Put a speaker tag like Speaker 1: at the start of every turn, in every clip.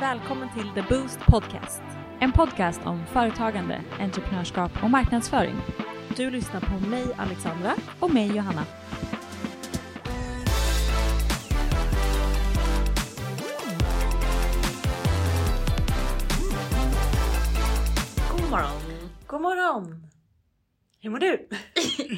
Speaker 1: Välkommen till The Boost Podcast. En podcast om företagande, entreprenörskap och marknadsföring. Du lyssnar på mig Alexandra och mig Johanna.
Speaker 2: God morgon!
Speaker 3: God morgon! Hur mår du?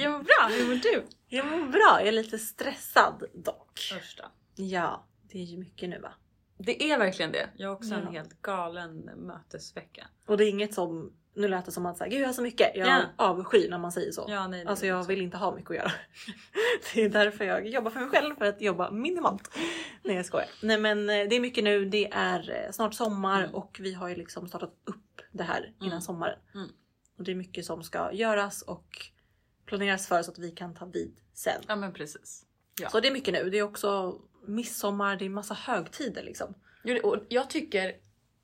Speaker 2: Jag mår bra, hur mår du?
Speaker 3: Jag mår bra, jag är lite stressad dock.
Speaker 2: Första.
Speaker 3: Ja, det är ju mycket nu va?
Speaker 2: Det är verkligen det. Jag har också
Speaker 3: Ja.
Speaker 2: en helt galen mötesvecka.
Speaker 3: Och det är inget som, nu lät det som att säga gud jag har så mycket. Jag
Speaker 2: Ja.
Speaker 3: avskyr när man säger så.
Speaker 2: Ja, nej, det
Speaker 3: Alltså
Speaker 2: är
Speaker 3: jag
Speaker 2: så.
Speaker 3: vill inte ha mycket att göra. Det är därför jag jobbar för mig själv, för att jobba minimalt. Nej jag skojar. Nej men eh, det är mycket nu, det är eh, snart sommar
Speaker 2: Mm.
Speaker 3: och vi har ju liksom startat upp det här innan
Speaker 2: Mm.
Speaker 3: sommaren.
Speaker 2: Mm.
Speaker 3: Och det är mycket som ska göras och planeras för så att vi kan ta vid sen.
Speaker 2: Ja men precis. Ja.
Speaker 3: Så det är mycket nu. Det är också midsommar, det är massa högtider liksom.
Speaker 2: Jo, det- och Jag tycker,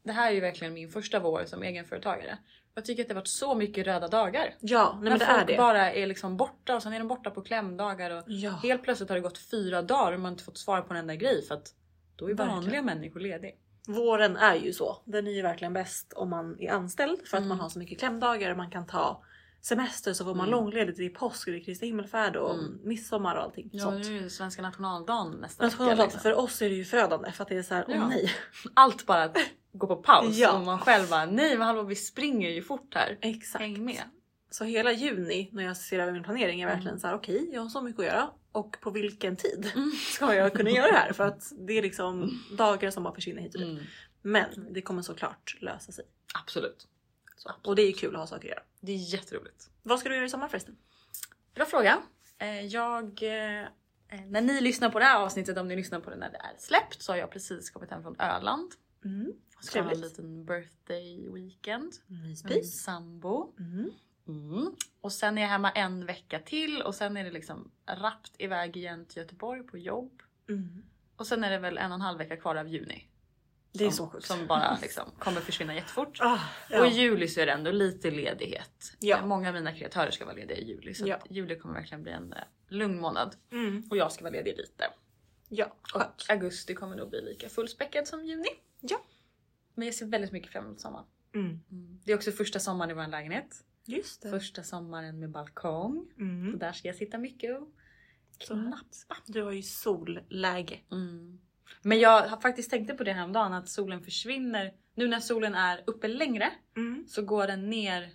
Speaker 2: det här är ju verkligen min första vår som egenföretagare. Jag tycker att det har varit så mycket röda dagar.
Speaker 3: Ja, nej, men det
Speaker 2: När folk
Speaker 3: är det.
Speaker 2: bara är liksom borta och sen är de borta på klämdagar och
Speaker 3: Ja.
Speaker 2: helt plötsligt har det gått fyra dagar och man har inte fått svara på en enda grej för att då är
Speaker 3: Verkligen.
Speaker 2: vanliga människor lediga.
Speaker 3: Våren är ju så. Den är ju verkligen bäst om man är anställd för att
Speaker 2: Mm.
Speaker 3: man har så mycket klämdagar och man kan ta semester så får man
Speaker 2: Mm.
Speaker 3: långledigt. Det är påsk, och det är Kristi himmelfärd och
Speaker 2: Mm.
Speaker 3: midsommar och allting
Speaker 2: Ja,
Speaker 3: sånt.
Speaker 2: nu är det svenska nationaldagen nästa
Speaker 3: Men
Speaker 2: vecka.
Speaker 3: för,
Speaker 2: liksom.
Speaker 3: för oss är det ju förödande för att det är så här, åh
Speaker 2: Ja.
Speaker 3: nej.
Speaker 2: Allt bara går på paus
Speaker 3: Ja.
Speaker 2: och man själv bara nej men hallå vi springer ju fort här.
Speaker 3: Exakt.
Speaker 2: Häng med.
Speaker 3: Så hela juni när jag ser över min planering är
Speaker 2: Mm.
Speaker 3: verkligen så här, okej jag har så mycket att göra och på vilken tid
Speaker 2: Mm.
Speaker 3: ska jag kunna göra det här? För att det är liksom dagar som bara försvinner hit och dit.
Speaker 2: Mm.
Speaker 3: Men det kommer såklart lösa sig.
Speaker 2: Absolut.
Speaker 3: Så. Och det är kul att ha saker att göra.
Speaker 2: Det är jätteroligt.
Speaker 3: Vad ska du göra i sommar förresten?
Speaker 2: Bra fråga. Eh, Jag, eh, när ni lyssnar på det här avsnittet, om ni lyssnar på det när det är släppt, så har jag precis kommit hem från Öland.
Speaker 3: Mm.
Speaker 2: Ska ha en
Speaker 3: Trevligt. Mm.
Speaker 2: liten birthday weekend med min
Speaker 3: Myspys.
Speaker 2: sambo.
Speaker 3: Mm.
Speaker 2: Mm. Och sen är jag hemma en vecka till och sen är det liksom rappt iväg igen till Göteborg på jobb.
Speaker 3: Mm.
Speaker 2: Och sen är det väl en och en halv vecka kvar av juni.
Speaker 3: Det är
Speaker 2: som,
Speaker 3: så sjukt.
Speaker 2: Som bara liksom kommer försvinna jättefort.
Speaker 3: Ah,
Speaker 2: Och i
Speaker 3: ja.
Speaker 2: juli så är det ändå lite ledighet.
Speaker 3: Ja.
Speaker 2: Eh, Många av mina kreatörer ska vara lediga i juli så
Speaker 3: Ja.
Speaker 2: att juli kommer verkligen bli en eh, lugn månad.
Speaker 3: Mm.
Speaker 2: Och jag ska vara ledig lite.
Speaker 3: ja,
Speaker 2: Och
Speaker 3: skönt.
Speaker 2: augusti kommer nog bli lika fullspäckad som juni.
Speaker 3: Ja.
Speaker 2: Men jag ser väldigt mycket fram emot sommaren.
Speaker 3: Mm.
Speaker 2: Det är också första sommaren i vår lägenhet.
Speaker 3: Just det.
Speaker 2: Första sommaren med balkong. Så
Speaker 3: Mm.
Speaker 2: där ska jag sitta mycket och
Speaker 3: Så här.
Speaker 2: knappa.
Speaker 3: Du har ju solläge.
Speaker 2: Mm. Men jag har faktiskt tänkte på det häromdagen att solen försvinner. Nu när solen är uppe längre
Speaker 3: Mm.
Speaker 2: så går den ner.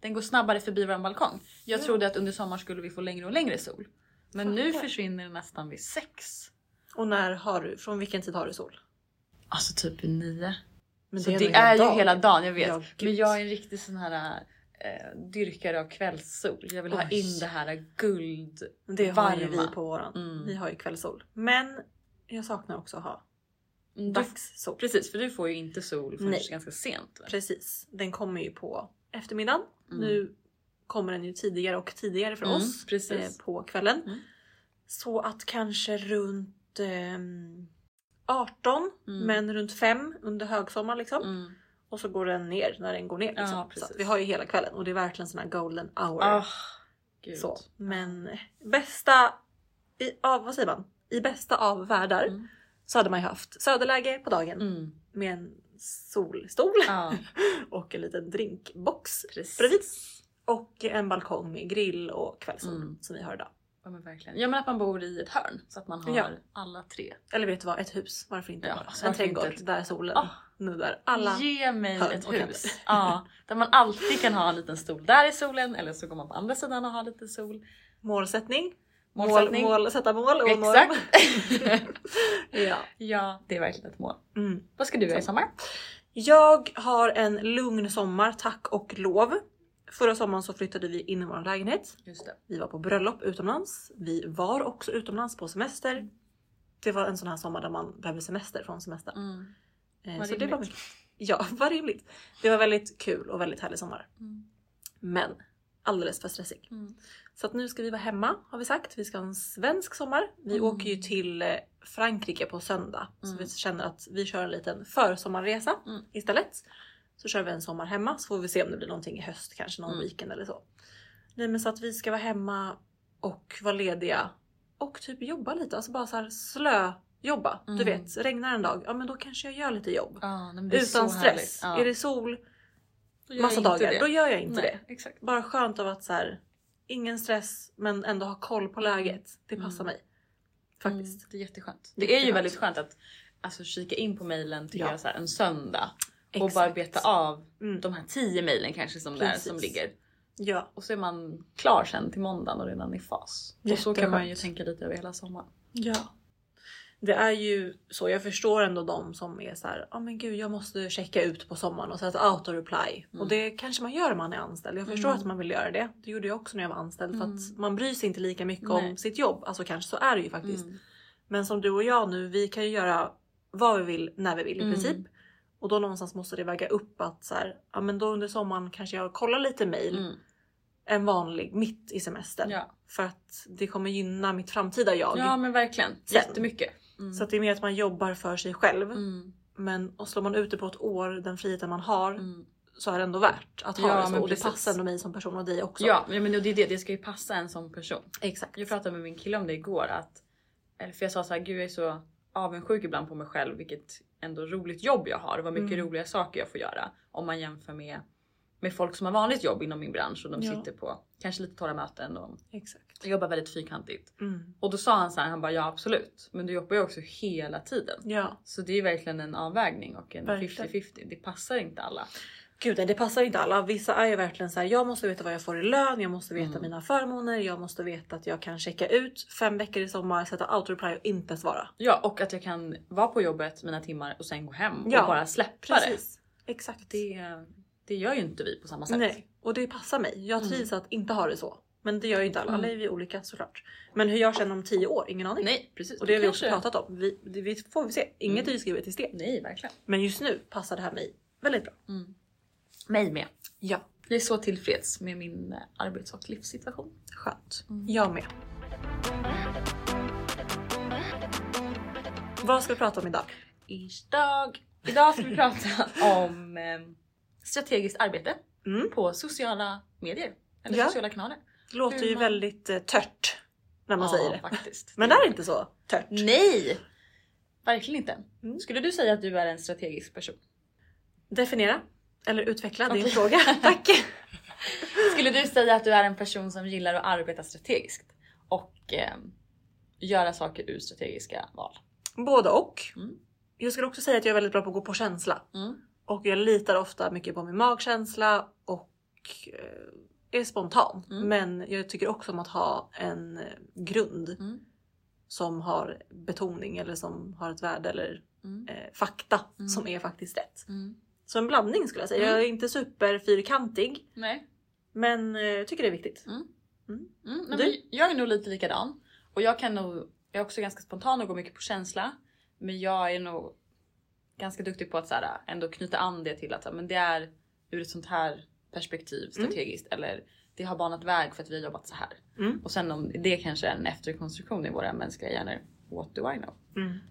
Speaker 2: Den går snabbare förbi vår balkong. Jag
Speaker 3: Ja.
Speaker 2: trodde att under sommaren skulle vi få längre och längre sol. Men nu
Speaker 3: Fattar.
Speaker 2: försvinner den nästan vid sex.
Speaker 3: Och när har du, från vilken tid har du sol?
Speaker 2: Alltså typ vid nio.
Speaker 3: Men
Speaker 2: Så det,
Speaker 3: en
Speaker 2: är
Speaker 3: hel
Speaker 2: ju
Speaker 3: dag.
Speaker 2: hela dagen, jag vet.
Speaker 3: Ja,
Speaker 2: Men
Speaker 3: gud.
Speaker 2: jag är en riktig sån här eh, dyrkare av kvällssol. Jag vill ha
Speaker 3: Oj.
Speaker 2: in det här guld.
Speaker 3: Det har ju
Speaker 2: varma.
Speaker 3: vi på våran.
Speaker 2: Mm.
Speaker 3: Vi har ju kvällssol. Men jag saknar också att ha
Speaker 2: Du,
Speaker 3: dagssol.
Speaker 2: precis, för du får ju inte sol förrän
Speaker 3: Nej.
Speaker 2: ganska sent. väl?
Speaker 3: Precis, den kommer ju på eftermiddagen.
Speaker 2: Mm.
Speaker 3: Nu kommer den ju tidigare och tidigare för
Speaker 2: Mm,
Speaker 3: oss
Speaker 2: precis.
Speaker 3: eh, på kvällen.
Speaker 2: Mm.
Speaker 3: Så att kanske runt ehm, 18
Speaker 2: Mm.
Speaker 3: men runt 5 under högsommar liksom.
Speaker 2: Mm.
Speaker 3: Och så går den ner när den går ner.
Speaker 2: Ja,
Speaker 3: Liksom. så
Speaker 2: precis.
Speaker 3: att vi har ju hela kvällen och det är verkligen sån här golden hour.
Speaker 2: Ah, gud.
Speaker 3: så. Men bästa, i, av, vad säger man? I bästa av världar
Speaker 2: Mm.
Speaker 3: så hade man ju haft söderläge på dagen
Speaker 2: Mm. Ah.
Speaker 3: med en solstol
Speaker 2: Ja,
Speaker 3: och en liten drinkbox
Speaker 2: precis.
Speaker 3: bredvid. Och en balkong med grill och kvällssol
Speaker 2: Mm.
Speaker 3: som vi har idag.
Speaker 2: Ja men verkligen. Ja men att man bor i ett hörn så att man har
Speaker 3: Ja.
Speaker 2: alla tre.
Speaker 3: Eller vet du vad, ett hus. Varför inte
Speaker 2: Ja,
Speaker 3: bara?
Speaker 2: alltså
Speaker 3: En
Speaker 2: varför inte
Speaker 3: trädgård
Speaker 2: ett-
Speaker 3: där solen
Speaker 2: Ah.
Speaker 3: nuddar alla.
Speaker 2: Ge mig
Speaker 3: hörn
Speaker 2: ett
Speaker 3: och
Speaker 2: hus. Ja, där man alltid kan ha en liten stol där i solen eller så går man på andra sidan och har lite sol.
Speaker 3: Målsättning.
Speaker 2: Målsättning.
Speaker 3: Mål, mål, sätta mål och norm.
Speaker 2: Exakt.
Speaker 3: ja.
Speaker 2: ja, det är verkligen ett mål.
Speaker 3: mm.
Speaker 2: Vad ska du göra i sommar?
Speaker 3: Jag har en lugn sommar, tack och lov. Förra sommaren så flyttade vi in i vår lägenhet.
Speaker 2: Just det.
Speaker 3: Vi var på bröllop utomlands. Vi var också utomlands på semester. Det var en sån här sommar där man behöver semester från semestern.
Speaker 2: Mm.
Speaker 3: Eh,
Speaker 2: Vad
Speaker 3: så det
Speaker 2: rimligt.
Speaker 3: var mycket. Ja, vad rimligt. Det var väldigt kul och väldigt härlig sommar.
Speaker 2: Mm.
Speaker 3: Men alldeles för stressig.
Speaker 2: Mm.
Speaker 3: Så att nu ska vi vara hemma har vi sagt. Vi ska ha en svensk sommar. Vi
Speaker 2: Mm.
Speaker 3: åker ju till eh, Frankrike på söndag.
Speaker 2: Mm.
Speaker 3: Så vi känner att vi kör en liten försommarresa
Speaker 2: Mm.
Speaker 3: istället. Så kör vi en sommar hemma så får vi se om det blir någonting i höst kanske någon
Speaker 2: Mm.
Speaker 3: weekend eller så. Nej men så att vi ska vara hemma och vara lediga och typ jobba lite. Alltså bara så här slö jobba. Du
Speaker 2: Mm.
Speaker 3: vet, regnar en dag, ja men då kanske jag gör lite jobb.
Speaker 2: Ja, Ah, nej, men det är
Speaker 3: Utan
Speaker 2: så
Speaker 3: stress.
Speaker 2: härligt. Ja.
Speaker 3: Är det sol
Speaker 2: Då gör jag
Speaker 3: massa
Speaker 2: inte
Speaker 3: dagar,
Speaker 2: det.
Speaker 3: då gör jag inte
Speaker 2: nej,
Speaker 3: det.
Speaker 2: Exakt.
Speaker 3: Bara skönt av att så här, ingen stress men ändå ha koll på läget. Det passar mig. Faktiskt.
Speaker 2: Mm, det är jätteskönt. Det är ju
Speaker 3: Jätteskönt.
Speaker 2: väldigt skönt att alltså, kika in på mejlen tycker
Speaker 3: Ja.
Speaker 2: jag så här, en söndag och
Speaker 3: Exakt.
Speaker 2: bara beta av
Speaker 3: Mm.
Speaker 2: de här tio mejlen kanske som, där,
Speaker 3: Precis.
Speaker 2: som ligger.
Speaker 3: Ja,
Speaker 2: Och så är man klar sen till måndagen och redan i fas. Och så kan
Speaker 3: Jätteskönt.
Speaker 2: man ju tänka lite över hela sommaren.
Speaker 3: Ja. Det är ju så, jag förstår ändå de som är så här, ja men gud jag måste checka ut på sommaren och sätta auto reply.
Speaker 2: Mm.
Speaker 3: Och det kanske man gör om man är anställd. Jag förstår att man vill göra det. Det gjorde jag också när jag var anställd för att man bryr sig inte lika mycket om
Speaker 2: Mm. Nej.
Speaker 3: sitt jobb. Alltså kanske så är det ju faktiskt.
Speaker 2: Mm.
Speaker 3: Men som du och jag nu, vi kan ju göra vad vi vill när vi vill i
Speaker 2: Mm.
Speaker 3: princip. Och då någonstans måste det väga upp att så här, ja men då under sommaren kanske jag kollar lite mail
Speaker 2: Mm.
Speaker 3: än vanlig mitt i semestern.
Speaker 2: Ja.
Speaker 3: För att det kommer gynna mitt framtida jag.
Speaker 2: ja men verkligen.
Speaker 3: Sen.
Speaker 2: Jättemycket. Mm.
Speaker 3: Så att det är mer att man jobbar för sig själv.
Speaker 2: Mm.
Speaker 3: Men och slår man ut det på ett år, den friheten man har,
Speaker 2: Mm.
Speaker 3: så är det ändå värt att ha
Speaker 2: Ja,
Speaker 3: det så.
Speaker 2: men
Speaker 3: Och det
Speaker 2: precis.
Speaker 3: passar ändå mig som person och dig också.
Speaker 2: Ja men det, det är det, det ska ju passa en som person.
Speaker 3: exakt.
Speaker 2: Jag pratade med min kille om det igår att eller för jag sa så här, gud jag är så avundsjuk ibland på mig själv vilket ändå roligt jobb jag har och vad mycket
Speaker 3: Mm.
Speaker 2: roliga saker jag får göra om man jämför med med folk som har vanligt jobb inom min bransch och de
Speaker 3: Ja.
Speaker 2: sitter på kanske lite torra möten och
Speaker 3: exakt.
Speaker 2: jobbar väldigt fyrkantigt.
Speaker 3: Mm.
Speaker 2: Och då sa han så här, han bara ja absolut, men du jobbar ju också hela tiden.
Speaker 3: Ja.
Speaker 2: Så det är ju verkligen en avvägning och en
Speaker 3: Verkligen.
Speaker 2: 50-50. Det passar inte alla.
Speaker 3: Gud nej, det passar inte alla. Vissa är ju verkligen så här, jag måste veta vad jag får i lön, jag måste veta
Speaker 2: Mm.
Speaker 3: mina förmåner, jag måste veta att jag kan checka ut fem veckor i sommar, sätta autoreply och inte svara.
Speaker 2: Ja och att jag kan vara på jobbet mina timmar och sen gå hem och
Speaker 3: Ja,
Speaker 2: bara släppa
Speaker 3: Exakt.
Speaker 2: det. det. Det gör ju inte vi på samma sätt.
Speaker 3: Nej, och det passar mig. Jag trivs att inte ha det så. Men det gör ju inte alla.
Speaker 2: Mm.
Speaker 3: Alla är vi olika såklart. Men hur jag känner om tio år, ingen aning.
Speaker 2: Nej precis.
Speaker 3: Och det har vi
Speaker 2: kanske- Mm.
Speaker 3: också pratat om. Vi, det, vi får vi se. Inget är ju skrivet i sten.
Speaker 2: Nej verkligen.
Speaker 3: Men just nu passar det här mig väldigt bra.
Speaker 2: Mig med.
Speaker 3: Ja,
Speaker 2: Jag är så tillfreds med min eh, arbets och livssituation.
Speaker 3: skönt.
Speaker 2: Mm.
Speaker 3: Jag med. Vad ska vi prata om idag?
Speaker 2: Idag, idag ska vi prata om eh, strategiskt arbete
Speaker 3: Mm.
Speaker 2: på sociala medier. Eller
Speaker 3: Ja.
Speaker 2: sociala kanaler.
Speaker 3: Det låter
Speaker 2: Hur
Speaker 3: ju
Speaker 2: man-
Speaker 3: väldigt eh, tört när man säger det.
Speaker 2: faktiskt.
Speaker 3: Men det är inte så tört.
Speaker 2: Nej! Verkligen inte.
Speaker 3: Mm.
Speaker 2: Skulle du säga att du är en strategisk person?
Speaker 3: Definiera eller utveckla din
Speaker 2: Okej.
Speaker 3: fråga. Tack!
Speaker 2: Skulle du säga att du är en person som gillar att arbeta strategiskt? Och eh, göra saker ur strategiska val?
Speaker 3: Både och.
Speaker 2: Mm.
Speaker 3: Jag skulle också säga att jag är väldigt bra på att gå på känsla. Och jag litar ofta mycket på min magkänsla och eh, är spontan.
Speaker 2: Mm.
Speaker 3: Men jag tycker också om att ha en eh, grund
Speaker 2: Mm.
Speaker 3: som har betoning eller som har ett värde eller
Speaker 2: Mm.
Speaker 3: eh, fakta
Speaker 2: Mm.
Speaker 3: som är faktiskt rätt.
Speaker 2: Mm.
Speaker 3: Så en blandning skulle jag säga. Jag är inte superfyrkantig
Speaker 2: Nej.
Speaker 3: men eh, jag tycker det är viktigt.
Speaker 2: Mm, nej,
Speaker 3: Du?
Speaker 2: men jag är nog lite likadan. Och jag kan nog, jag är också ganska spontan och går mycket på känsla. Men jag är nog ganska duktig på att så här, ändå knyta an det till att så här, men det är ur ett sånt här perspektiv strategiskt. Eller det har banat väg för att vi har jobbat så här.
Speaker 3: Mm.
Speaker 2: Och sen om det kanske är en efterkonstruktion i våra mänskliga hjärnor. What do I know?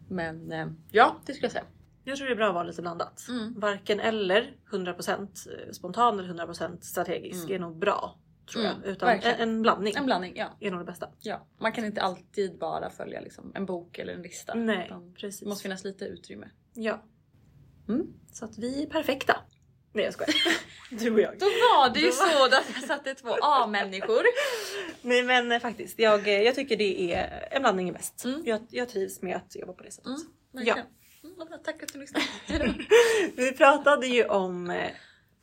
Speaker 2: Men eh, ja, det skulle jag säga.
Speaker 3: Mm. Jag tror det är bra att vara lite blandat.
Speaker 2: Mm.
Speaker 3: Varken eller 100% spontan eller 100% strategisk
Speaker 2: Mm.
Speaker 3: är nog bra. Tror
Speaker 2: Mm,
Speaker 3: jag. Utan en,
Speaker 2: verkligen.
Speaker 3: en blandning
Speaker 2: En blandning, ja.
Speaker 3: är nog det bästa.
Speaker 2: ja. Man kan inte alltid bara följa liksom, en bok eller en lista.
Speaker 3: Nej
Speaker 2: utan
Speaker 3: precis.
Speaker 2: det måste finnas lite utrymme.
Speaker 3: Ja.
Speaker 2: Mm.
Speaker 3: Så att vi är perfekta. Nej jag skojar. Du och jag.
Speaker 2: Då var det ju
Speaker 3: Då var-
Speaker 2: så att jag satte två A-människor.
Speaker 3: Nej men eh, faktiskt, jag, eh, jag tycker det är en blandning är bäst.
Speaker 2: Mm.
Speaker 3: Jag, jag trivs med att jobba på det sättet.
Speaker 2: Verkligen. Mm, vad bra. Tack för att du lyssnade. Hejdå.
Speaker 3: Vi pratade ju om eh,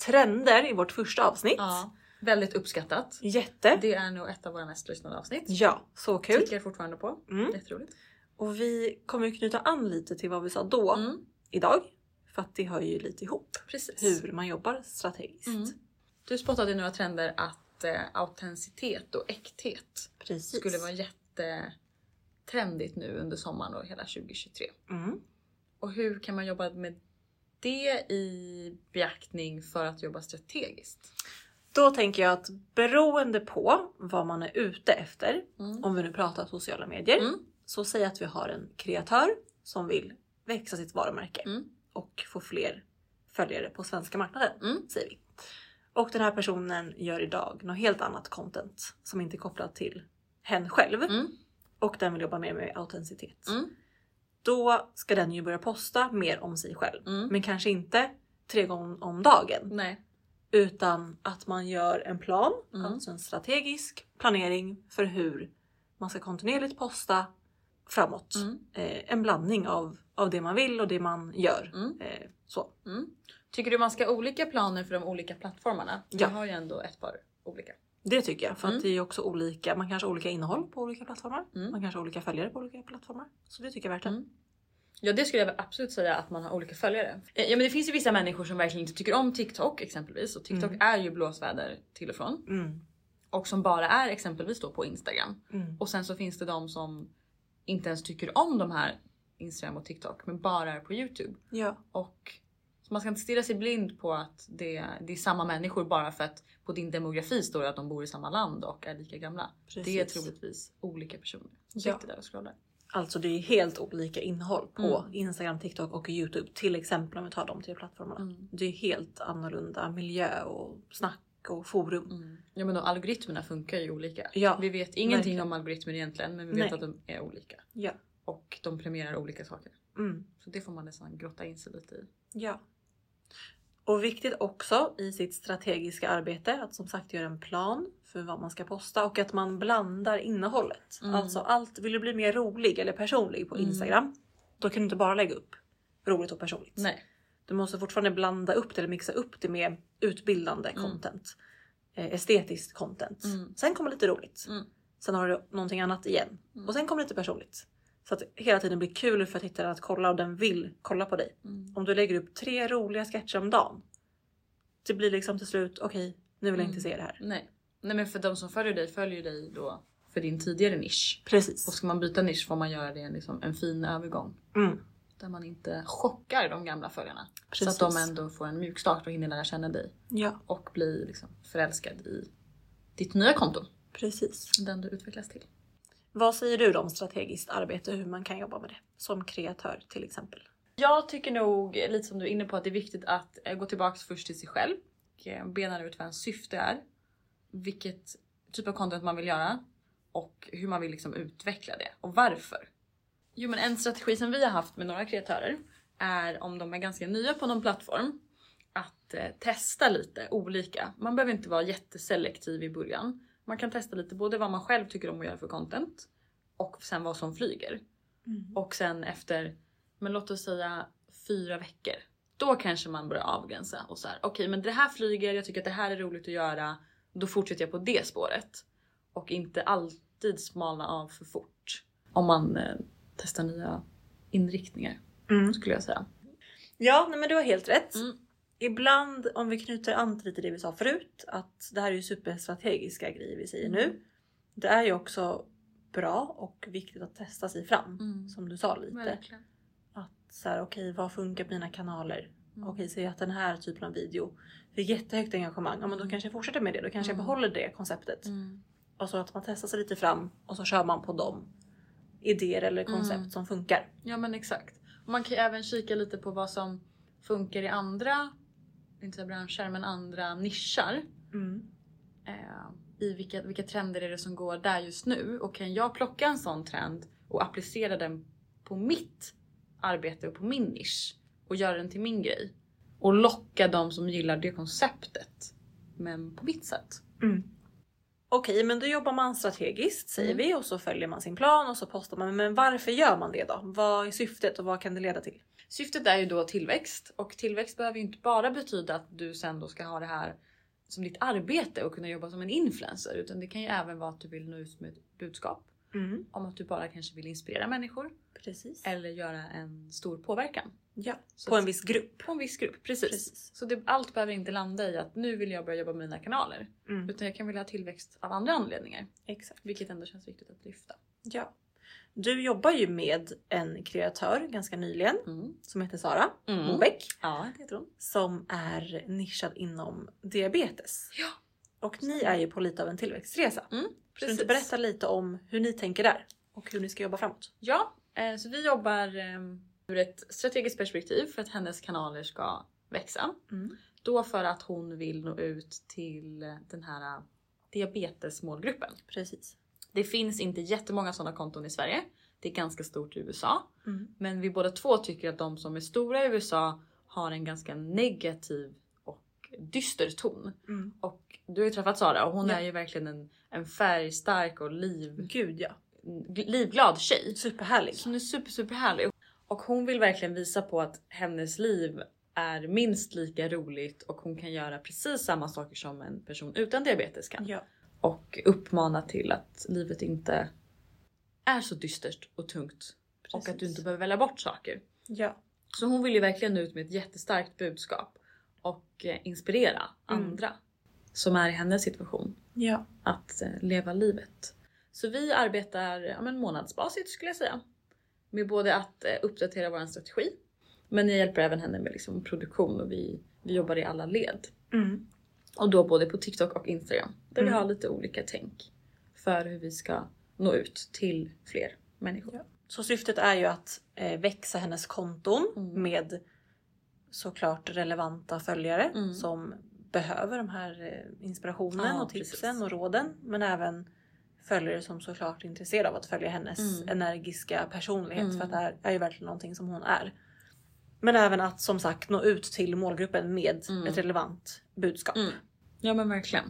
Speaker 3: trender i vårt första avsnitt.
Speaker 2: ja, väldigt uppskattat.
Speaker 3: Jätte.
Speaker 2: Det är nog ett av våra mest lyssnade avsnitt.
Speaker 3: Ja, så kul.
Speaker 2: Tickar fortfarande på.
Speaker 3: Mm.
Speaker 2: Jätteroligt.
Speaker 3: Och vi kommer ju knyta an lite till vad vi sa då
Speaker 2: Mm,
Speaker 3: idag. För att det hör ju lite ihop
Speaker 2: precis.
Speaker 3: hur man jobbar strategiskt.
Speaker 2: Mm. Du spottade i några trender att eh, autenticitet och äkthet
Speaker 3: Precis.
Speaker 2: skulle vara jättetrendigt nu under sommaren och hela 2023.
Speaker 3: Mm.
Speaker 2: Och hur kan man jobba med det i beaktning för att jobba strategiskt?
Speaker 3: Då tänker jag att beroende på vad man är ute efter,
Speaker 2: Mm.
Speaker 3: om vi nu pratar sociala medier,
Speaker 2: Mm.
Speaker 3: så säg att vi har en kreatör som vill växa sitt varumärke
Speaker 2: Mm.
Speaker 3: och få fler följare på svenska marknaden,
Speaker 2: Mm.
Speaker 3: säger vi. Och den här personen gör idag något helt annat content som inte är kopplat till hen själv
Speaker 2: Mm.
Speaker 3: och den vill jobba mer med autenticitet.
Speaker 2: Mm.
Speaker 3: Då ska den ju börja posta mer om sig själv.
Speaker 2: Mm.
Speaker 3: Men kanske inte tre gånger om dagen.
Speaker 2: Nej.
Speaker 3: Utan att man gör en plan,
Speaker 2: Mm.
Speaker 3: alltså en strategisk planering för hur man ska kontinuerligt posta framåt.
Speaker 2: Mm.
Speaker 3: Eh, en blandning av, av det man vill och det man gör.
Speaker 2: Mm.
Speaker 3: Eh, så.
Speaker 2: Mm. Tycker du man ska ha olika planer för de olika plattformarna?
Speaker 3: Ja.
Speaker 2: Jag har ju ändå ett par olika.
Speaker 3: Det tycker jag. För
Speaker 2: Mm.
Speaker 3: att det är också olika, man kanske har olika innehåll på olika plattformar.
Speaker 2: Mm.
Speaker 3: Man kanske har olika följare på olika plattformar. Så det tycker jag är värt det.
Speaker 2: Mm. Ja det skulle jag väl absolut säga att man har olika följare. Eh, Ja men det finns ju vissa människor som verkligen inte tycker om TikTok exempelvis och TikTok
Speaker 3: Mm.
Speaker 2: är ju blåsväder till och från
Speaker 3: Mm.
Speaker 2: och som bara är exempelvis då på Instagram.
Speaker 3: Mm.
Speaker 2: Och sen så finns det de som inte ens tycker om de här Instagram och TikTok men bara är på Youtube.
Speaker 3: Ja.
Speaker 2: Och så man ska inte stirra sig blind på att det, det är samma människor bara för att på din demografi står det att de bor i samma land och är lika gamla. Det är
Speaker 3: Precis.
Speaker 2: troligtvis olika personer som
Speaker 3: Ja.
Speaker 2: sitter där och scrollar.
Speaker 3: Alltså det är helt olika innehåll på
Speaker 2: Mm.
Speaker 3: Instagram, TikTok och Youtube. Till exempel om vi tar de tre plattformarna.
Speaker 2: Mm.
Speaker 3: Det är helt annorlunda miljö och snack och forum.
Speaker 2: Mm. Ja men och algoritmerna funkar ju olika.
Speaker 3: Ja,
Speaker 2: Vi vet ingenting
Speaker 3: verkligen.
Speaker 2: om algoritmer egentligen men vi vet
Speaker 3: Nej.
Speaker 2: att de är olika.
Speaker 3: Ja.
Speaker 2: Och de premierar olika saker.
Speaker 3: Mm.
Speaker 2: Så det får man nästan grotta in sig lite i.
Speaker 3: ja. Och viktigt också i sitt strategiska arbete att som sagt göra en plan för vad man ska posta och att man blandar innehållet.
Speaker 2: Mm.
Speaker 3: Alltså allt, vill du bli mer rolig eller personlig på
Speaker 2: Mm.
Speaker 3: Instagram, då kan du inte bara lägga upp roligt och personligt.
Speaker 2: Nej.
Speaker 3: Du måste fortfarande blanda upp det eller mixa upp det med utbildande
Speaker 2: Mm.
Speaker 3: content. Eh, estetiskt content.
Speaker 2: Mm.
Speaker 3: Sen kommer lite roligt.
Speaker 2: Mm.
Speaker 3: Sen har du någonting annat igen.
Speaker 2: Mm.
Speaker 3: Och sen kommer lite personligt. Så att det hela tiden blir kul för tittaren att kolla och den vill kolla på dig.
Speaker 2: Mm.
Speaker 3: Om du lägger upp tre roliga sketcher om dagen. Det blir liksom till slut, okej nu vill jag
Speaker 2: Mm.
Speaker 3: inte se det här.
Speaker 2: Nej. Nej men för de som följer dig följer dig då för din tidigare nisch. Och
Speaker 3: Precis.
Speaker 2: ska man byta nisch får man göra det liksom en fin övergång.
Speaker 3: Mm.
Speaker 2: Där man inte chockar de gamla följarna.
Speaker 3: Precis.
Speaker 2: Så att de ändå får en mjuk start och hinner lära känna dig.
Speaker 3: Ja,
Speaker 2: Och bli liksom förälskad i ditt nya konto.
Speaker 3: precis.
Speaker 2: Den du utvecklas till.
Speaker 3: Vad säger du då om strategiskt arbete och hur man kan jobba med det? Som kreatör till exempel.
Speaker 2: Jag tycker nog, lite som du är inne på, att det är viktigt att eh, gå tillbaka först till sig själv. Och eh, bena ut vad ens syfte är. Vilket typ av content man vill göra. Och hur man vill liksom utveckla det. Och varför. Jo men en strategi som vi har haft med några kreatörer är om de är ganska nya på någon plattform. Att eh, testa lite olika. Man behöver inte vara jätteselektiv i början. Man kan testa lite både vad man själv tycker om att göra för content. Och sen vad som flyger. Och sen efter, men låt oss säga fyra veckor. Då kanske man börjar avgränsa och så här, okej men det här flyger, jag tycker att det här är roligt att göra. Då fortsätter jag på det spåret. Och inte alltid smalna av för fort. Om man eh, testar nya inriktningar
Speaker 3: Mm.
Speaker 2: skulle jag säga.
Speaker 3: Ja, nej men du har helt rätt.
Speaker 2: Mm.
Speaker 3: Ibland, om vi knyter an till lite det vi sa förut, att det här är ju superstrategiska grejer vi säger
Speaker 2: Mm.
Speaker 3: nu. Det är ju också bra och viktigt att testa sig fram.
Speaker 2: Mm.
Speaker 3: Som du sa lite.
Speaker 2: Verkligen.
Speaker 3: Att så här, okej vad funkar på mina kanaler?
Speaker 2: Mm.
Speaker 3: Okej, säger jag att den här typen av video får jättehögt engagemang, ja men då kanske jag fortsätter med det. Då kanske
Speaker 2: Mm.
Speaker 3: jag behåller det konceptet.
Speaker 2: Mm.
Speaker 3: Och så att man testar sig lite fram och så kör man på de idéer eller koncept
Speaker 2: Mm.
Speaker 3: som funkar.
Speaker 2: Ja men exakt. Och Man kan ju även kika lite på vad som funkar i andra, inte branscher men andra nischer.
Speaker 3: Mm.
Speaker 2: eh, i vilka, vilka trender är det som går där just nu och kan jag plocka en sån trend och applicera den på mitt arbete och på min nisch och göra den till min grej och locka de som gillar det konceptet men på mitt sätt.
Speaker 3: Okej, men då jobbar man strategiskt säger
Speaker 2: Mm.
Speaker 3: vi och så följer man sin plan och så postar man. Men varför gör man det då? Vad är syftet och vad kan det leda till?
Speaker 2: Syftet är ju då tillväxt och tillväxt behöver ju inte bara betyda att du sen då ska ha det här som ditt arbete och kunna jobba som en influencer utan det kan ju även vara att du vill nå ut med ett budskap om att du bara kanske vill inspirera människor
Speaker 3: Precis.
Speaker 2: eller göra en stor påverkan.
Speaker 3: Ja,
Speaker 2: Så
Speaker 3: på
Speaker 2: att-
Speaker 3: en viss grupp.
Speaker 2: På en viss grupp, precis.
Speaker 3: Precis.
Speaker 2: Så det, allt behöver inte landa i att nu vill jag börja jobba med mina kanaler.
Speaker 3: Mm.
Speaker 2: Utan jag kan vilja ha tillväxt av andra anledningar.
Speaker 3: Exakt.
Speaker 2: Vilket ändå känns viktigt att lyfta.
Speaker 3: Ja. Du jobbar ju med en kreatör ganska nyligen
Speaker 2: Mm.
Speaker 3: som heter Sara
Speaker 2: Mm.
Speaker 3: Mobeck
Speaker 2: Ja, det heter hon.
Speaker 3: som är nischad inom diabetes.
Speaker 2: Ja. Mm,
Speaker 3: Och ni är ju på lite av en tillväxtresa. Kan du
Speaker 2: Precis.
Speaker 3: inte berätta lite om hur ni tänker där och hur ni ska jobba framåt?
Speaker 2: Ja, eh, så vi jobbar eh, ur ett strategiskt perspektiv för att hennes kanaler ska växa.
Speaker 3: Mm.
Speaker 2: Då för att hon vill nå ut till den här eh, diabetesmålgruppen.
Speaker 3: Precis.
Speaker 2: Det finns inte jättemånga sådana konton i Sverige. Det är ganska stort i USA.
Speaker 3: Mm.
Speaker 2: Men vi båda två tycker att de som är stora i USA har en ganska negativ och dyster ton.
Speaker 3: Mm.
Speaker 2: Och du har ju träffat Sara och hon
Speaker 3: Ja.
Speaker 2: är ju verkligen en, en färgstark och liv,
Speaker 3: Gud ja.
Speaker 2: livglad tjej.
Speaker 3: Superhärlig.
Speaker 2: Så hon är super super härlig. Och hon vill verkligen visa på att hennes liv är minst lika roligt och hon kan göra precis samma saker som en person utan diabetes kan.
Speaker 3: Ja.
Speaker 2: Och uppmana till att livet inte är så dystert och tungt. Och att du
Speaker 3: Precis.
Speaker 2: inte behöver välja bort saker.
Speaker 3: ja.
Speaker 2: Så hon vill ju verkligen ut med ett jättestarkt budskap och eh, inspirera
Speaker 3: Mm.
Speaker 2: andra som är i hennes situation
Speaker 3: Ja.
Speaker 2: att eh, leva livet. Så vi arbetar ja, men månadsbasis skulle jag säga. Med både att eh, uppdatera vår strategi men jag hjälper även henne med liksom produktion och vi, vi jobbar i alla led.
Speaker 3: Mm.
Speaker 2: Och då både på TikTok och Instagram där vi
Speaker 3: Mm.
Speaker 2: har lite olika tänk för hur vi ska nå ut till fler människor.
Speaker 3: Ja. Så syftet är ju att eh, växa hennes konton
Speaker 2: Mm.
Speaker 3: med såklart relevanta följare
Speaker 2: Mm.
Speaker 3: som behöver de här eh, inspirationen
Speaker 2: Ja,
Speaker 3: och tipsen
Speaker 2: precis.
Speaker 3: och råden. Men även följare som såklart är intresserade av att följa hennes
Speaker 2: Mm.
Speaker 3: energiska personlighet
Speaker 2: Mm.
Speaker 3: för att det här är ju verkligen någonting som hon är. Men även att som sagt nå ut till målgruppen med
Speaker 2: Mm.
Speaker 3: ett relevant budskap.
Speaker 2: Mm. Ja men verkligen.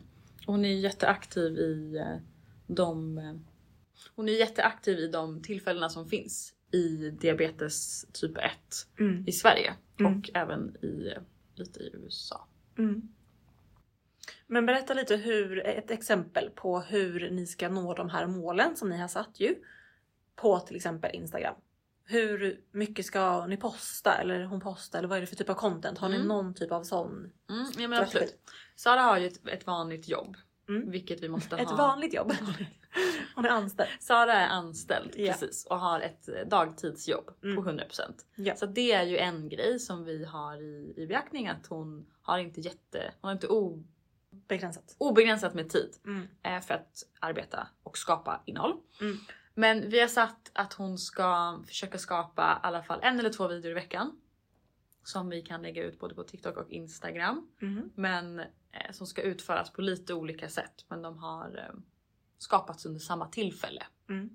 Speaker 2: Och Hon är ju jätteaktiv i eh, de eh, hon är ju jätteaktiv i de tillfällena som finns i diabetes typ 1
Speaker 3: Mm.
Speaker 2: i Sverige
Speaker 3: Mm.
Speaker 2: och även i eh, lite i USA.
Speaker 3: Mm. Men berätta lite hur, ett exempel på hur ni ska nå de här målen som ni har satt ju. På till exempel Instagram. Hur mycket ska ni posta eller hon posta eller vad är det för typ av content? Har ni
Speaker 2: Mm.
Speaker 3: någon typ av sån?
Speaker 2: Mm, ja men
Speaker 3: strategi?
Speaker 2: absolut. Sara har ju ett, ett vanligt jobb
Speaker 3: Mm.
Speaker 2: vilket vi måste
Speaker 3: Ett
Speaker 2: ha.
Speaker 3: vanligt jobb. hon är anställd.
Speaker 2: Sara är anställd
Speaker 3: Ja.
Speaker 2: precis och har ett eh, dagtidsjobb
Speaker 3: Mm.
Speaker 2: på 100%.
Speaker 3: Ja.
Speaker 2: Så det är ju en grej som vi har i, i beaktning att hon har inte jätte, hon har inte o,
Speaker 3: Begränsat.
Speaker 2: obegränsat med tid.
Speaker 3: Mm.
Speaker 2: eh, för att arbeta och skapa innehåll.
Speaker 3: Mm.
Speaker 2: Men vi har satt att hon ska försöka skapa i alla fall en eller två videor i veckan. Som vi kan lägga ut både på TikTok och Instagram.
Speaker 3: Mm.
Speaker 2: Men eh, som ska utföras på lite olika sätt. Men de har eh, skapats under samma tillfälle.
Speaker 3: Mm.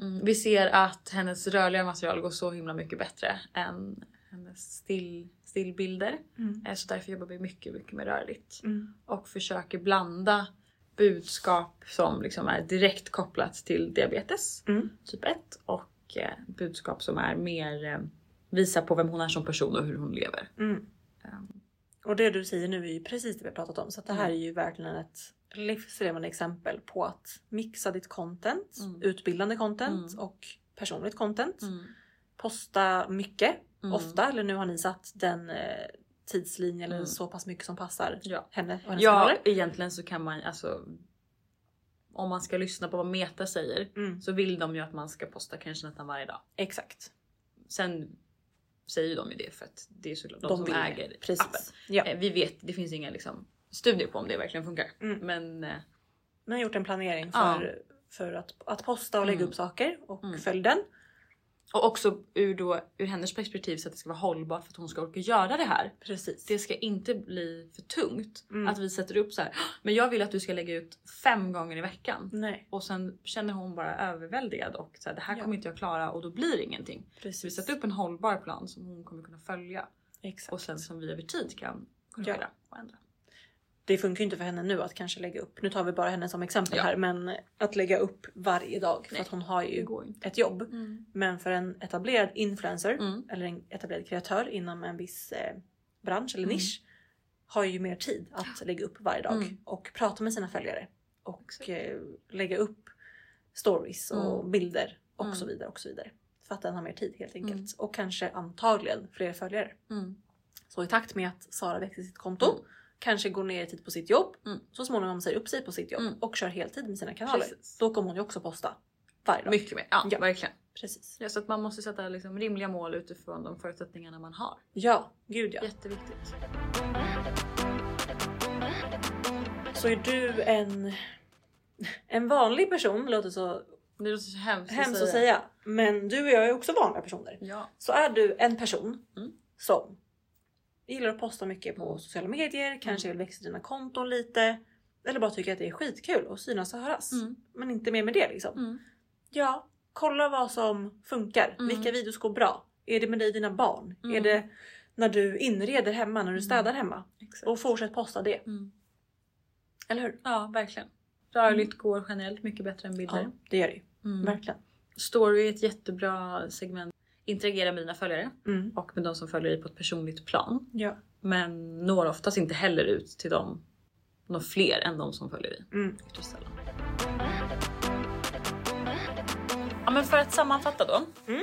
Speaker 2: Mm, vi ser att hennes rörliga material går så himla mycket bättre än hennes still, stillbilder.
Speaker 3: Mm.
Speaker 2: Eh, så därför jobbar vi mycket, mycket med rörligt
Speaker 3: Mm.
Speaker 2: och försöker blanda budskap som liksom är direkt kopplat till diabetes
Speaker 3: Mm.
Speaker 2: typ 1 och eh, budskap som är mer eh, visar på vem hon är som person och hur hon lever.
Speaker 3: Mm.
Speaker 2: Ehm,
Speaker 3: Och det du säger nu är ju precis det vi har pratat om. Så att det här
Speaker 2: Mm.
Speaker 3: är ju verkligen ett livslevande exempel på att mixa ditt content,
Speaker 2: Mm.
Speaker 3: utbildande content
Speaker 2: Mm.
Speaker 3: och personligt content. Posta mycket,
Speaker 2: Mm.
Speaker 3: ofta. Eller nu har ni satt den eh, tidslinjen eller
Speaker 2: Mm.
Speaker 3: så pass mycket som passar
Speaker 2: Ja.
Speaker 3: henne och hennes
Speaker 2: ja,
Speaker 3: kanaler.
Speaker 2: egentligen så kan man alltså. Om man ska lyssna på vad Meta säger
Speaker 3: Mm.
Speaker 2: så vill de ju att man ska posta kanske nästan varje dag.
Speaker 3: Exakt.
Speaker 2: Sen säger ju de ju det för att det är såklart de, som
Speaker 3: vill.
Speaker 2: äger
Speaker 3: Precis.
Speaker 2: appen.
Speaker 3: Ja.
Speaker 2: Eh, Vi vet, det finns inga liksom, studier på om det verkligen funkar.
Speaker 3: Mm.
Speaker 2: Men eh,
Speaker 3: Ni har gjort en planering
Speaker 2: Ja.
Speaker 3: för, för att, att posta och lägga
Speaker 2: Mm.
Speaker 3: upp saker och
Speaker 2: Mm.
Speaker 3: följ den.
Speaker 2: Och också ur, då, ur hennes perspektiv så att det ska vara hållbart för att hon ska orka göra det här.
Speaker 3: Precis.
Speaker 2: Det ska inte bli för tungt
Speaker 3: Mm.
Speaker 2: att vi sätter upp så här. Men jag vill att du ska lägga ut fem gånger i veckan.
Speaker 3: Nej,
Speaker 2: Och sen känner hon bara överväldigad och så här, det här
Speaker 3: Ja.
Speaker 2: kommer inte jag klara och då blir det ingenting. Så vi
Speaker 3: precis.
Speaker 2: sätter upp en hållbar plan som hon kommer kunna följa
Speaker 3: Exakt.
Speaker 2: och sen som vi över tid kan korrigera och ändra.
Speaker 3: det funkar ju inte för henne nu att kanske lägga upp, nu tar vi bara henne som exempel
Speaker 2: Ja.
Speaker 3: här, men att lägga upp varje dag för
Speaker 2: Nej,
Speaker 3: att hon har
Speaker 2: Det
Speaker 3: ju
Speaker 2: går ju inte.
Speaker 3: ett jobb.
Speaker 2: Mm.
Speaker 3: Men för en etablerad influencer
Speaker 2: Mm.
Speaker 3: eller en etablerad kreatör inom en viss eh, bransch eller
Speaker 2: Mm.
Speaker 3: nisch har ju mer tid att lägga upp varje dag
Speaker 2: Mm.
Speaker 3: och prata med sina följare och
Speaker 2: Exakt.
Speaker 3: eh, lägga upp stories och
Speaker 2: Mm.
Speaker 3: bilder och
Speaker 2: Mm.
Speaker 3: så vidare och så vidare. För att den har mer tid helt enkelt
Speaker 2: Mm.
Speaker 3: och kanske antagligen fler följare.
Speaker 2: Mm.
Speaker 3: Så i takt med att Sara växer sitt konto
Speaker 2: Mm.
Speaker 3: kanske går ner i tid på sitt jobb,
Speaker 2: Mm.
Speaker 3: så småningom säger upp sig på sitt jobb
Speaker 2: Mm.
Speaker 3: och kör heltid med sina kanaler.
Speaker 2: Precis.
Speaker 3: Då kommer hon ju också posta varje dag.
Speaker 2: Mycket mer, ja,
Speaker 3: Ja.
Speaker 2: verkligen.
Speaker 3: Precis.
Speaker 2: Ja, så att man måste sätta liksom rimliga mål utifrån de förutsättningarna man har.
Speaker 3: Ja, gud ja.
Speaker 2: Jätteviktigt.
Speaker 3: Så är du en, en vanlig person, låter så
Speaker 2: Det låter så hemskt,
Speaker 3: hemskt att säga, men du och jag är också vanliga personer.
Speaker 2: Ja.
Speaker 3: Så är du en person
Speaker 2: Mm.
Speaker 3: som gillar att posta mycket på
Speaker 2: Mm.
Speaker 3: sociala medier, kanske vill växa dina konton lite
Speaker 2: Mm.
Speaker 3: eller bara tycker att det är skitkul att synas och höras. Men inte mer med det liksom. Ja, kolla vad som funkar.
Speaker 2: Mm.
Speaker 3: Vilka videos går bra? Är det med dig och dina barn?
Speaker 2: Mm.
Speaker 3: Är det när du inreder hemma, när du städar hemma?
Speaker 2: Exakt.
Speaker 3: Och fortsätt posta det.
Speaker 2: Mm.
Speaker 3: Eller hur?
Speaker 2: Ja, verkligen. Rörligt går generellt mycket bättre än bilder.
Speaker 3: Ja, det gör det ju.
Speaker 2: Mm.
Speaker 3: Verkligen.
Speaker 2: Story är ett jättebra segment. Interagera med dina följare
Speaker 3: Mm.
Speaker 2: och med de som följer dig på ett personligt plan.
Speaker 3: Ja.
Speaker 2: Men når oftast inte heller ut till dem, de fler än de som följer dig.
Speaker 3: Mm.
Speaker 2: Ytterst sällan. Ja, men för att sammanfatta då.
Speaker 3: Mm.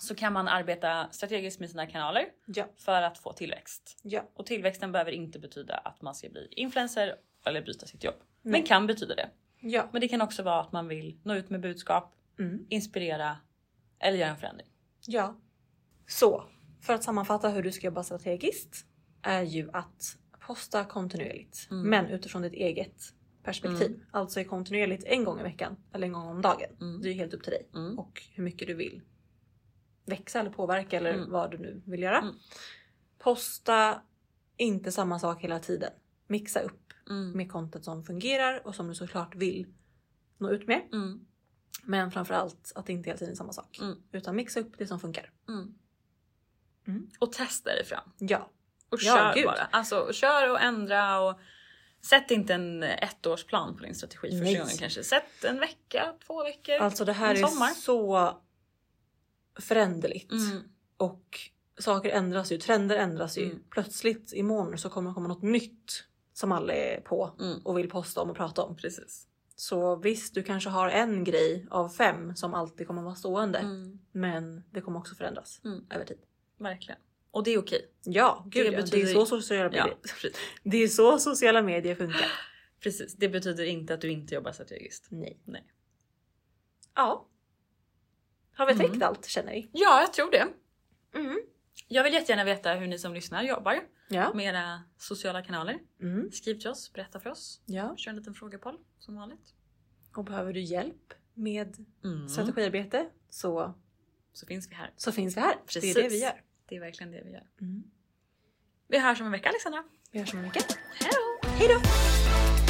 Speaker 2: Så kan man arbeta strategiskt med sina kanaler
Speaker 3: Ja.
Speaker 2: för att få tillväxt.
Speaker 3: Ja.
Speaker 2: Och tillväxten behöver inte betyda att man ska bli influencer eller byta sitt jobb.
Speaker 3: Nej.
Speaker 2: Men kan betyda det.
Speaker 3: Ja.
Speaker 2: Men det kan också vara att man vill nå ut med budskap,
Speaker 3: Mm.
Speaker 2: inspirera eller göra en förändring.
Speaker 3: Ja. Så för att sammanfatta hur du ska jobba strategiskt är ju att posta kontinuerligt,
Speaker 2: Mm.
Speaker 3: men utifrån ditt eget perspektiv. Alltså är kontinuerligt en gång i veckan eller en gång om dagen.
Speaker 2: Mm.
Speaker 3: Det är ju helt upp till dig
Speaker 2: Mm.
Speaker 3: och hur mycket du vill växa eller påverka eller
Speaker 2: Mm.
Speaker 3: vad du nu vill göra.
Speaker 2: Mm.
Speaker 3: Posta inte samma sak hela tiden. Mixa upp
Speaker 2: Mm.
Speaker 3: med content som fungerar och som du såklart vill nå ut med.
Speaker 2: Mm.
Speaker 3: Men framförallt att det inte hela tiden är samma sak.
Speaker 2: Mm.
Speaker 3: Utan mixa upp det som funkar.
Speaker 2: Mm.
Speaker 3: Mm.
Speaker 2: Och testa dig fram.
Speaker 3: Ja,
Speaker 2: Och
Speaker 3: Ja,
Speaker 2: kör
Speaker 3: gud.
Speaker 2: bara. Alltså kör och ändra och sätt inte en ettårsplan på din strategi
Speaker 3: Nej.
Speaker 2: första gången kanske. Sätt en vecka, två veckor.
Speaker 3: Alltså det här
Speaker 2: En
Speaker 3: är
Speaker 2: sommar.
Speaker 3: så föränderligt
Speaker 2: Mm.
Speaker 3: och saker ändras ju, trender ändras ju.
Speaker 2: Mm.
Speaker 3: Plötsligt imorgon så kommer det komma något nytt som alla är på
Speaker 2: Mm.
Speaker 3: och vill posta om och prata om.
Speaker 2: Precis.
Speaker 3: Så visst, du kanske har en grej av fem som alltid kommer vara stående,
Speaker 2: Mm.
Speaker 3: men det kommer också förändras
Speaker 2: Mm.
Speaker 3: över tid.
Speaker 2: Verkligen. Och det är okej.
Speaker 3: Ja, gud, det, ja, det är
Speaker 2: betyder-
Speaker 3: så sociala medier.
Speaker 2: Ja, precis.
Speaker 3: Det är så sociala medier funkar.
Speaker 2: precis. Det betyder inte att du inte jobbar strategiskt.
Speaker 3: Nej.
Speaker 2: Nej.
Speaker 3: Ja. Har vi
Speaker 2: Mm.
Speaker 3: täckt allt känner vi?
Speaker 2: Ja, jag tror det.
Speaker 3: Mm.
Speaker 2: Jag vill jättegärna veta hur ni som lyssnar jobbar
Speaker 3: Ja.
Speaker 2: med era sociala kanaler.
Speaker 3: Mm.
Speaker 2: Skriv till oss, berätta för oss.
Speaker 3: ja.
Speaker 2: Kör en liten frågepoll som vanligt.
Speaker 3: Och behöver du hjälp med
Speaker 2: Mm.
Speaker 3: strategiarbete så,
Speaker 2: Så finns vi här.
Speaker 3: så finns vi här.
Speaker 2: Precis.
Speaker 3: Det är det vi gör.
Speaker 2: Det är verkligen det vi gör.
Speaker 3: Mm.
Speaker 2: Vi hörs om en vecka Alexandra.
Speaker 3: Vi hörs om en vecka.
Speaker 2: Hej då!
Speaker 3: Hej då!